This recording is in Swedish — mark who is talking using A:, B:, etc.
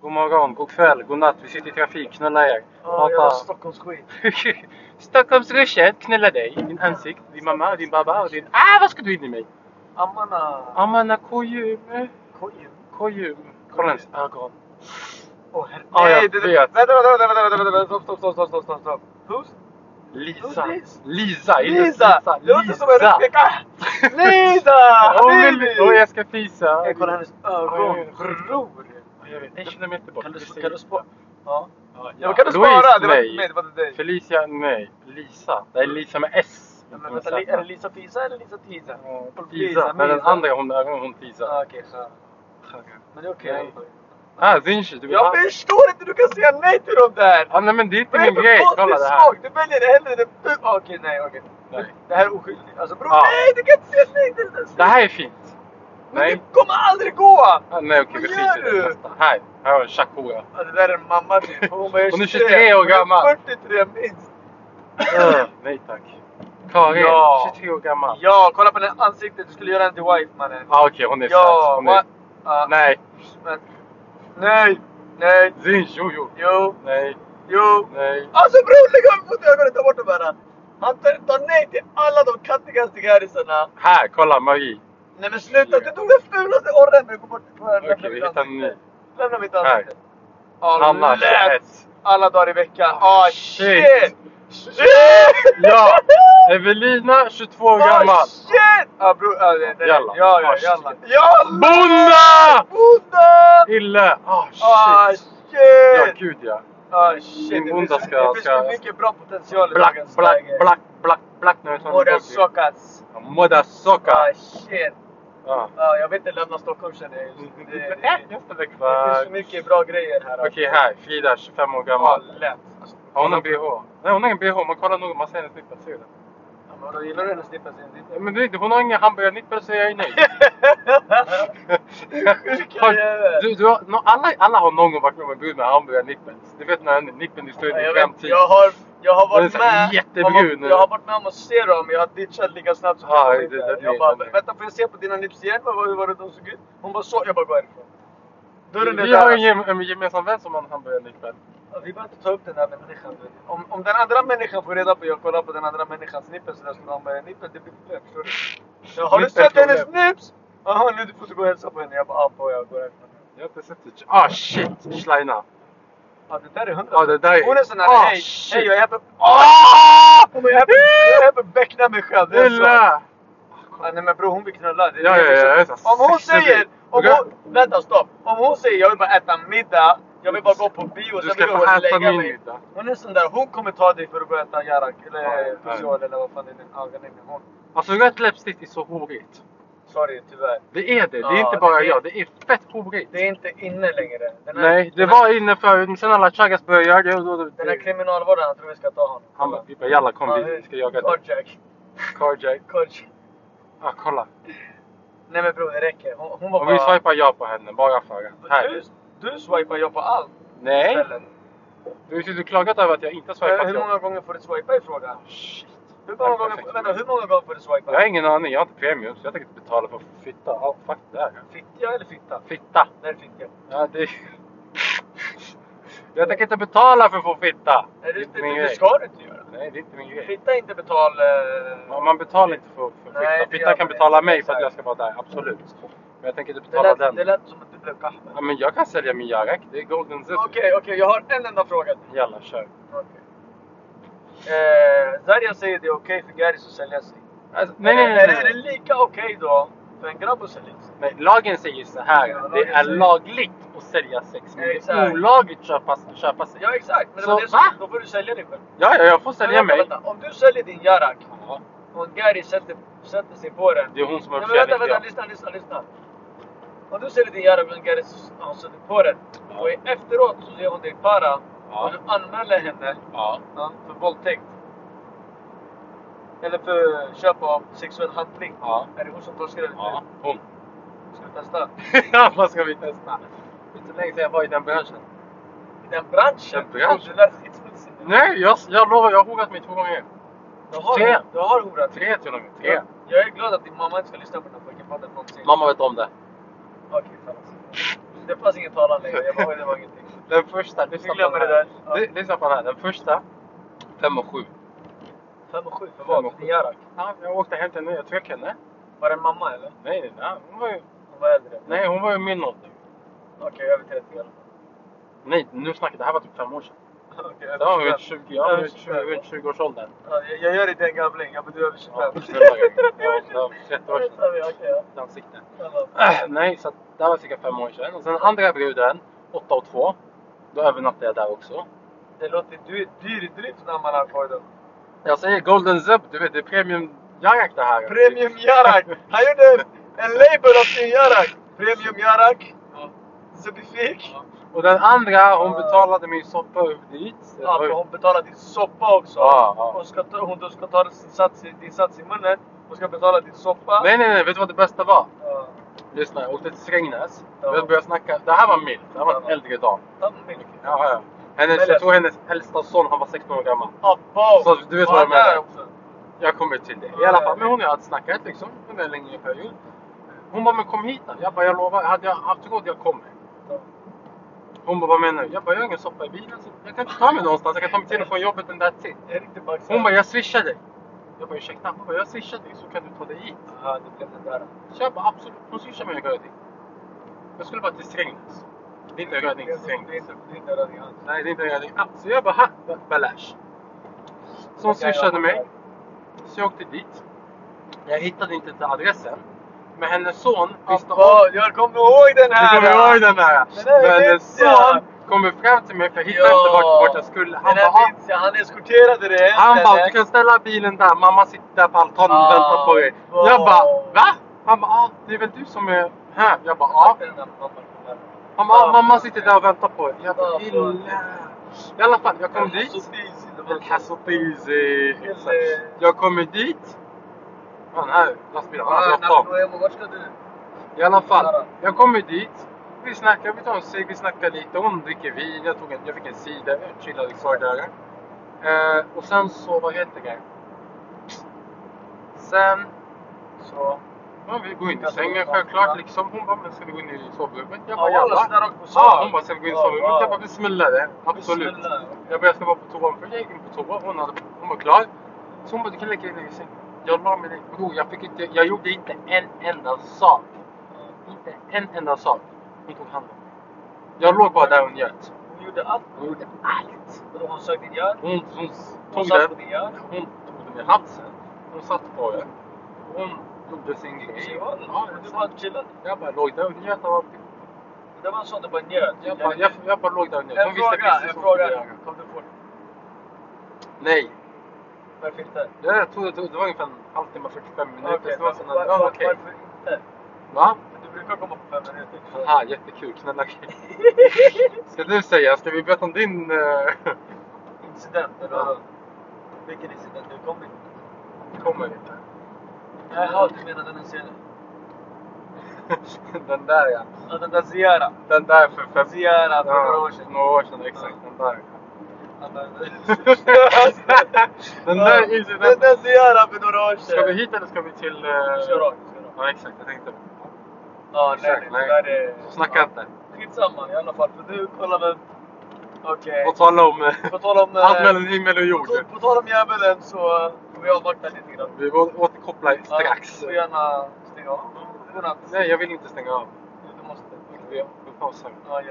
A: God morgon, god kväll, god natt. Vi sitter i trafik, knulla er.
B: Ja, jävla Stockholmsskit.
A: Stockholmsrushet knulla dig i din ansikt, din mamma och din babba och din... Ah, vad ska du in i mig?
B: Ammarna.
A: Amana kojum, eh,
B: Kojum.
A: kojum. Kolla ens ögon.
B: Åh herre.
A: Ja, jag
B: Nej, det- det-
A: vet.
B: Vänta, vänta, vänta, vänta, vänta, vänta. Stopp, stopp, stopp, stopp, stopp, stopp, stopp. Who's?
A: Lisa.
B: Who's this?
A: Lisa! inte
B: Lisa! Det låter som en
A: Lisa!
B: riktig katt. Lisa!
A: Åh,
B: Habibi!
A: men- åh, jag ska fisa.
B: Jag kollar hennes
A: Ja,
B: ögon.
A: jag vet.
B: Bror.
A: Jag vet, en kilometer bort.
B: Kan du,
A: Precis.
B: kan du spara? Ja.
A: Ja,
B: Ja, men kan du spara? Det var inte mig, det var till dig.
A: Felicia, nej. Lisa. Det är Lisa med S.
B: Ja,
A: inte
B: men
A: med
B: vänta,
A: Z.
B: är det Lisa Fisa eller Lisa Tisa?
A: Ja,
B: Lisa,
A: Tisa. Men den
B: Misa.
A: andra hon, även hon
B: Ja,
A: Tisa.
B: Okej, så.
A: Okej.
B: Men det är okej.
A: Nej. Ah, Zinchi, du vill
B: Jag
A: ha...
B: förstår inte hur du kan säga nej till dem där!
A: Ah, nej men det är inte
B: Vad är
A: min
B: det
A: grej.
B: för
A: Kolla
B: konstig
A: det här.
B: smak? Du väljer hellre det... bu- Okej, nej, okej.
A: Nej.
B: Det här är oskyldigt. Alltså bror,
A: Ja.
B: nej! Du kan inte säga nej till det!
A: Det här är fint.
B: Men
A: Nej.
B: det kommer aldrig gå!
A: Ah, nej okej,
B: Vad
A: vi
B: gör
A: skiter i
B: du?
A: det. Nästa. Här, här har du Shakura.
B: Ja, det där är mamma typ. Hon bara, jag
A: Hon är 23 år
B: Hon är
A: gammal.
B: 43 minst.
A: Ah, nej tack. Karin,
B: Ja.
A: 23 år gammal.
B: Ja, kolla på det här ansiktet. Du skulle göra den till wife mannen.
A: Ah, okej, hon är
B: Ja,
A: söt. Hon är...
B: va- ja,
A: Nej.
B: men- Nej! Nej!
A: Zinchi, jo, jo.
B: Jo!
A: Nej,
B: Jo!
A: nej.
B: Alltså bror, lägg av mot ögonen! Ta bort dem här! Han tar, tar nej till alla de kattigaste gärisarna.
A: Här, kolla Marie.
B: Nej men sluta! Du tog den fulaste orren när du kom bort från
A: Okej,
B: lämna
A: vi
B: mitt
A: hittar en ny.
B: ansikte. Lämna mitt
A: Här.
B: ansikte. Ja,
A: Annars
B: lätt.
A: ett.
B: Alla dagar i veckan. Ah shit!
A: shit.
B: Shit!
A: Ja! Evelina, 22 år
B: Ah,
A: gammal.
B: shit! Ja bror, ja, det, det,
A: Jalla.
B: Ja,
A: Ah,
B: ja,
A: shit.
B: jalla. Jalla!
A: Bonda!
B: Bonda!
A: Ille! Ah,
B: Ah
A: shit.
B: shit!
A: Ja, gud ja.
B: Ah shit!
A: Min
B: Det
A: bonda
B: finns-
A: ska-
B: Det finns
A: ska-
B: så mycket bra potential i
A: Black,
B: dagens
A: black,
B: läge.
A: black, black, black. Nu är det
B: Båda
A: sån
B: sockas.
A: Moda
B: Ah
A: socka.
B: shit!
A: Ja.
B: Ja, jag vill inte lämna Stockholm känner jag just nu. Det, det, det,
A: Jag ställer
B: finns så
A: kvar.
B: mycket bra grejer här. alltså.
A: Okej, här. Frida, 25 år
B: Ja,
A: gammal.
B: lätt. Alltså,
A: Har hon en bh? Nej, hon har ingen bh. Man kollar nog. Man ser hennes nippel. Ser du det?
B: Ja, men då gillar du hennes nippel sen? Det är
A: Ja,
B: inte-
A: Men det är inte. Hon har inga hamburgarnippel så jag är nöjd.
B: Sjuka
A: Har-
B: jävel.
A: du, du, har- nå- alla, alla har någon gång varit med om en brud med hamburgarnippel. Du vet när nippeln är stor i
B: Ja, jag,
A: din
B: vet,
A: framtid.
B: jag, har, jag har
A: Den är
B: varit
A: så här
B: med
A: jättebrun.
B: om, jag har varit med om att se dem, jag har ditchat lika snabbt som
A: Ja,
B: jag kom
A: det-
B: hit.
A: det- det-
B: Jag bara,
A: det-
B: vänta får jag se på dina nips igen? Vad- Hur var det de såg ut? Hon bara så, jag bara gå härifrån. Dörren är
A: Vi
B: där.
A: har en, gem, en gemensam vän som har en hamburgarnippel.
B: Ja, Vi behöver inte ta upp den där människan. Om, om den andra människan får reda på att jag kollar på den andra människans nippel så där skulle han bara, nippel det blir problem, förstår du? Ja, har du
A: Nippel
B: sett hennes
A: problem.
B: nips? Jaha, nu du får du gå och hälsa på henne. Jag bara, ah, på jag går härifrån.
A: Jag har inte sett det. Ah shit! Schleina.
B: Ja, det där är hundra.
A: Ja, det där är-
B: Hon är sån här,
A: Ah,
B: hej,
A: shit.
B: hej, jag är här för...
A: Ah!
B: Hon bara, jag är här för- jag är här för att beckna mig själv. Det är så.
A: Illa!
B: Ja, nej men bror hon vill knulla. Det är
A: Ja,
B: det
A: ja, ja,
B: jag
A: jag är
B: vill
A: så
B: säga. om hon
A: sexig.
B: säger... Om
A: Du kan-
B: hon, vänta stopp. Om hon säger jag vill bara äta middag. Jag vill bara gå på bio.
A: Du
B: sen
A: ska
B: vill jag
A: få
B: gå och
A: äta
B: lägga
A: min
B: mig."
A: middag.
B: Hon är sån där. Hon kommer ta dig för att börja äta jarak.
A: Ja, ja,
B: Eller
A: ja.
B: pysjol eller vad fan det är. din- Ja, nej, men hon.
A: Alltså rött läppstift är så horigt.
B: Sorry tyvärr.
A: Det är det. Det är
B: Ja,
A: inte bara
B: det är-
A: jag. Det är fett horigt.
B: Det är inte inne längre. Den här,
A: Nej, det
B: den här,
A: var inne förut. Men sen alla chaggas började göra det. och då- då-
B: Den här kriminalvården. Han tror vi ska ta honom.
A: Han bara, vi bara jalla kom
B: Ja,
A: vi vi ska jaga dig.
B: Carjack.
A: Carjack.
B: Carjack.
A: Ah kolla.
B: Nej men bror det räcker. Hon, hon var
A: Om vi swipar ja på henne, bara för att. Här.
B: Du, du swipar jag på allt.
A: Nej.
B: istället.
A: Du har ju klagat över att jag inte har
B: Eh, Hur
A: swipat
B: hur
A: ja.
B: många gånger får du swipa i frågan?
A: Shit.
B: Hur många, gånger, vänta, hur många gånger får du swipa?
A: Jag har ingen aning. Jag har inte premium så jag tänker inte betala för att få fitta. Ja, fuck det här.
B: Fittja eller fitta?
A: Fitta.
B: Nej, fittja.
A: Ja, det... Jag tänker inte betala för att få fitta.
B: Nej, det,
A: är inte
B: det,
A: min
B: det,
A: grej.
B: ska du inte göra.
A: Nej, det är inte min grej.
B: Fitta är inte betal... eh,
A: Man, man betalar inte för, för fitta.
B: Nej, det gör
A: fitta kan
B: man
A: betala
B: inte.
A: mig för att jag ska vara där, absolut. Men jag tänker inte
B: det,
A: betala
B: lät, det
A: den.
B: lät som att du blev kahmed.
A: Ja, men jag kan sälja min Jarek. Det är Golden Zip.
B: Okej, okej, jag har en enda fråga till.
A: Jalla, kör.
B: Okay. Eh, Zarja säger det är okej för Garis att sälja sig.
A: Alltså, nej, nej,
B: Är
A: nej,
B: det- Är
A: nej.
B: det lika okej då för en grabb att sälja sig?
A: nej. Lagen säger så här.
B: Ja,
A: det
B: lagen
A: är
B: säger-
A: lagligt att sälja sex, men det är
B: Exakt.
A: olagligt att köpa, köpa sex.
B: Ja, exakt. Men det
A: Så,
B: var det som,
A: va?
B: då får du sälja dig själv.
A: Ja, ja, jag får sälja
B: Men vänta,
A: mig.
B: Vänta. Om du säljer din Jarak
A: Ja,
B: och Gary sätter, sätter sig på den.
A: Det är hon som
B: Nej,
A: har
B: men vänta,
A: uppfjädring.
B: vänta,
A: ja.
B: lyssna, lyssna, lyssna. Om du säljer din Jaragon Gares har suttit på den
A: Ja.
B: och efteråt så ger hon dig para
A: Ja.
B: och du anmäler henne
A: Ja.
B: ja, för våldtäkt. Eller för köp av sexuell handling.
A: Ja.
B: Är det hon som torskar eller
A: Ja, hon.
B: du? Ska vi testa?
A: Vad ska vi testa? Det är så länge sedan jag var i den branschen.
B: I den branschen?
A: Den branschen.
B: Och Du lät skitsmutsig.
A: Nej, jag, jag lovar, jag har horat mig två gånger.
B: Jag har,
A: Tre.
B: jag har horat.
A: Tre till och med. Tre.
B: Jag, jag är glad att din mamma inte ska lyssna på den här fucking podden någonsin.
A: Mamma vet om det.
B: Okej, fan. Det fanns ingen talan längre. Jag bara, oj, det var ingenting.
A: Den första, du
B: Vi glömmer det där. Ja.
A: Lyssna på den här. Den första, fem och sju.
B: Fem och sju för
A: Fem och
B: vad?
A: sju.
B: För Jarak?
A: Ja, jag åkte hem till henne, jag tväckade henne.
B: Var det en mamma eller?
A: Nej, nej, nej, hon var ju,
B: Hon var äldre?
A: nej, hon var ju min ålder.
B: Okej, över 30 i alla fall.
A: Nej, nu snackar jag. Det här var typ fem år sedan.
B: Okej,
A: Det var
B: över
A: runt
B: 25.
A: 20, ja,
B: Över
A: runt 20,
B: 25.
A: runt 20-årsåldern.
B: Ja, jag- Jag gör inte en gamling. Jag betyder över 25.
A: Ja, det var
B: 30 år sedan.
A: ja, 30 år sedan.
B: Okej,
A: i
B: ja.
A: Ansikte.
B: Alla.
A: Äh, Nej, så att det här var cirka fem år sedan. Och sen andra bruden, 8 och 2. Då övernattade jag där också.
B: Det låter dyr, dyr drift när man har kojdon.
A: Jag säger Golden Zeb, du vet det är premium Jarak det här.
B: Premium Jarak! Han gjorde en label av sin Jarak! Premium Jarak,
A: Ja.
B: Zubifik.
A: Och den andra, hon
B: Ja.
A: betalade min soppa upp dit. Det
B: Ja,
A: var ju-
B: för hon betalar din soppa också.
A: Ja, ja.
B: Hon ska ta, hon då ska ta sin sats, i- din sats i munnen. Hon ska betala din soppa.
A: Nej, nej, nej. Vet du vad det bästa var?
B: Ja.
A: Lyssna, jag åkte till Strängnäs.
B: Ja.
A: Vi började snacka. Det här var milt. Det här var en
B: Ja.
A: äldre dam.
B: Ta milk.
A: Ja, ja. Hennes,
B: Men-
A: jag tror hennes äldsta son, han var 16 år gammal.
B: Abba!
A: Så du vet
B: Ja,
A: vad jag menar.
B: där också.
A: Jag kommer till det. I
B: Ja,
A: alla fall,
B: ja, ja.
A: men hon och jag hade snackat liksom under en längre period. Hon bara, men kom hit då. Jag bara, jag lovar. Hade jag haft råd, jag kommer.
B: Ja.
A: Hon bara, vad menar du? Jag bara, jag har ingen soppa i bilen. Så jag kan inte ta mig någonstans. Jag kan ta mig till och från jobbet den där tid.
B: En riktig baxare.
A: Hon bara, jag swishar dig. Jag bara, ursäkta? Hon bara, jag swishar dig så kan du ta dig hit.
B: Ja, det blev den där.
A: Så jag bara, absolut. Hon swishar mig en röding. Jag skulle bara till Strängnäs. Det är inte en röding till
B: Det är
A: Strängnäs.
B: inte- det är inte röding alls.
A: Nej, det är inte en röding. Ah, så jag bara, ha! Balash. Så hon
B: Okej,
A: swishade
B: ja,
A: mig. Så jag åkte dit. Jag hittade inte till adressen. Men hennes son visste om...
B: Abba, jag kommer ihåg den
A: Du
B: här!
A: kommer ihåg den där?
B: Den där
A: Men hennes
B: minns jag.
A: son kommer fram till mig för jag hittade
B: Ja.
A: inte vart, vart jag skulle. Han
B: Den
A: bara,
B: här
A: ah,
B: minns jag. Han eskorterade dig hem,
A: Han bara,
B: eller?
A: du kan ställa bilen där, mamma sitter där på altanen och
B: Ah,
A: väntar på dig.
B: wow.
A: Jag bara, va? Han bara, ah, det är väl du som är här? Jag bara, ja.
B: Den där mamman kommer.
A: Han bara, ah,
B: Ah.
A: mamma sitter där och väntar på dig. Jag bara,
B: Ah,
A: illa.
B: fan.
A: I alla fall, jag kom
B: Så
A: dit.
B: busy, det var
A: El
B: så-
A: Caso Easy.
B: Kille.
A: Jag kommer dit. Han här, lastbilen, han
B: Ah,
A: har
B: Nabil
A: bråttom.
B: Noemo, vart ska du?
A: I alla fall, jag kommer dit. Vi snackar, vi tar en cigg, vi snackar lite. Hon dricker vin, jag, tog en, jag fick en cider, jag chillade kvar där. Eh, och sen så, vad heter det? Sen,
B: Så.
A: ja, vi går in i sängen självklart liksom. Hon bara, men ska vi gå in i sovrummet? Jag bara,
B: Ja, alla
A: jalla.
B: sådär rakt på
A: Ja,
B: sak.
A: hon bara, ska vi gå in i
B: Ja,
A: sovrummet?
B: wow.
A: Jag bara, bismillah det. Absolut.
B: Snälla.
A: Jag bara, jag ska vara på toan först. Jag gick in på toa, hon, hade, hon var klar. Så hon bara, du kan lägga dig i sängen. Jag la mig ner. Bror, jag fick inte, jag gjorde inte en enda sak.
B: eh,
A: Inte en enda sak. Hon tog hand om mig. Jag låg bara där och njöt.
B: Hon gjorde allt.
A: Hon gjorde allt.
B: Vadå, Hon sög din hjärna.
A: Hon, hon
B: Hon
A: tog
B: satt
A: den.
B: på din hjärna.
A: Hon tog den i halsen. Hon satt på den. Hon gjorde sin grej. Ja,
B: Du
A: jag
B: bara
A: satt-
B: chillade.
A: jag bara låg där och njöt av allting.
B: Det var en sån du bara njöt.
A: Jag bara, jag, jag bara låg där och njöt.
B: En
A: Hon visste
B: fråga,
A: precis
B: en
A: vad hon skulle
B: fråga.
A: göra.
B: Kom du fort?
A: Nej.
B: Varför inte?
A: Jag tror det, tog- det var ungefär en halvtimme, 45 minuter.
B: Okej,
A: så det var
B: varför
A: sån här, ja, "Ah, okej.
B: varför inte?
A: Va?
B: Du brukar komma på fem minuter.
A: Haha, jättekul. Snälla kul. Ska du säga? Ska vi berätta om din... eh,
B: Incident, eller vadå? Vilken incident? Du kom inte.
A: kommer inte.
B: Jaha, du menar den här scenen?
A: Den där ja.
B: Ja, den där Ziara.
A: Den där för fem...
B: Ziara, för några år sedan.
A: Några år sedan, exakt. Den där.
B: Han bara-
A: Den där
B: Ja, Den
A: incidenten.
B: där Ziara för några år sedan.
A: Ska vi hit eller ska vi till... eh,
B: Kör rakt, kör rakt.
A: Ja, exakt. Jag tänkte...
B: Ja, nej,
A: Exakt,
B: nej. det där
A: nej.
B: är...
A: Så snacka inte.
B: Skitsamma i alla fall, för nu kollar vi... Okej.
A: Och tala om eh,
B: På tal om... eh,
A: allt mellan himmel och jord.
B: på, på tal om djävulen så eh, får vi avvakta lite grann.
A: Vi å- återkopplar
B: Ja,
A: strax.
B: Du får gärna stänga av. Godnatt.
A: Nej, jag vill inte stänga av.
B: Du måste.
A: Vi vi pausar.
B: Ja, ja.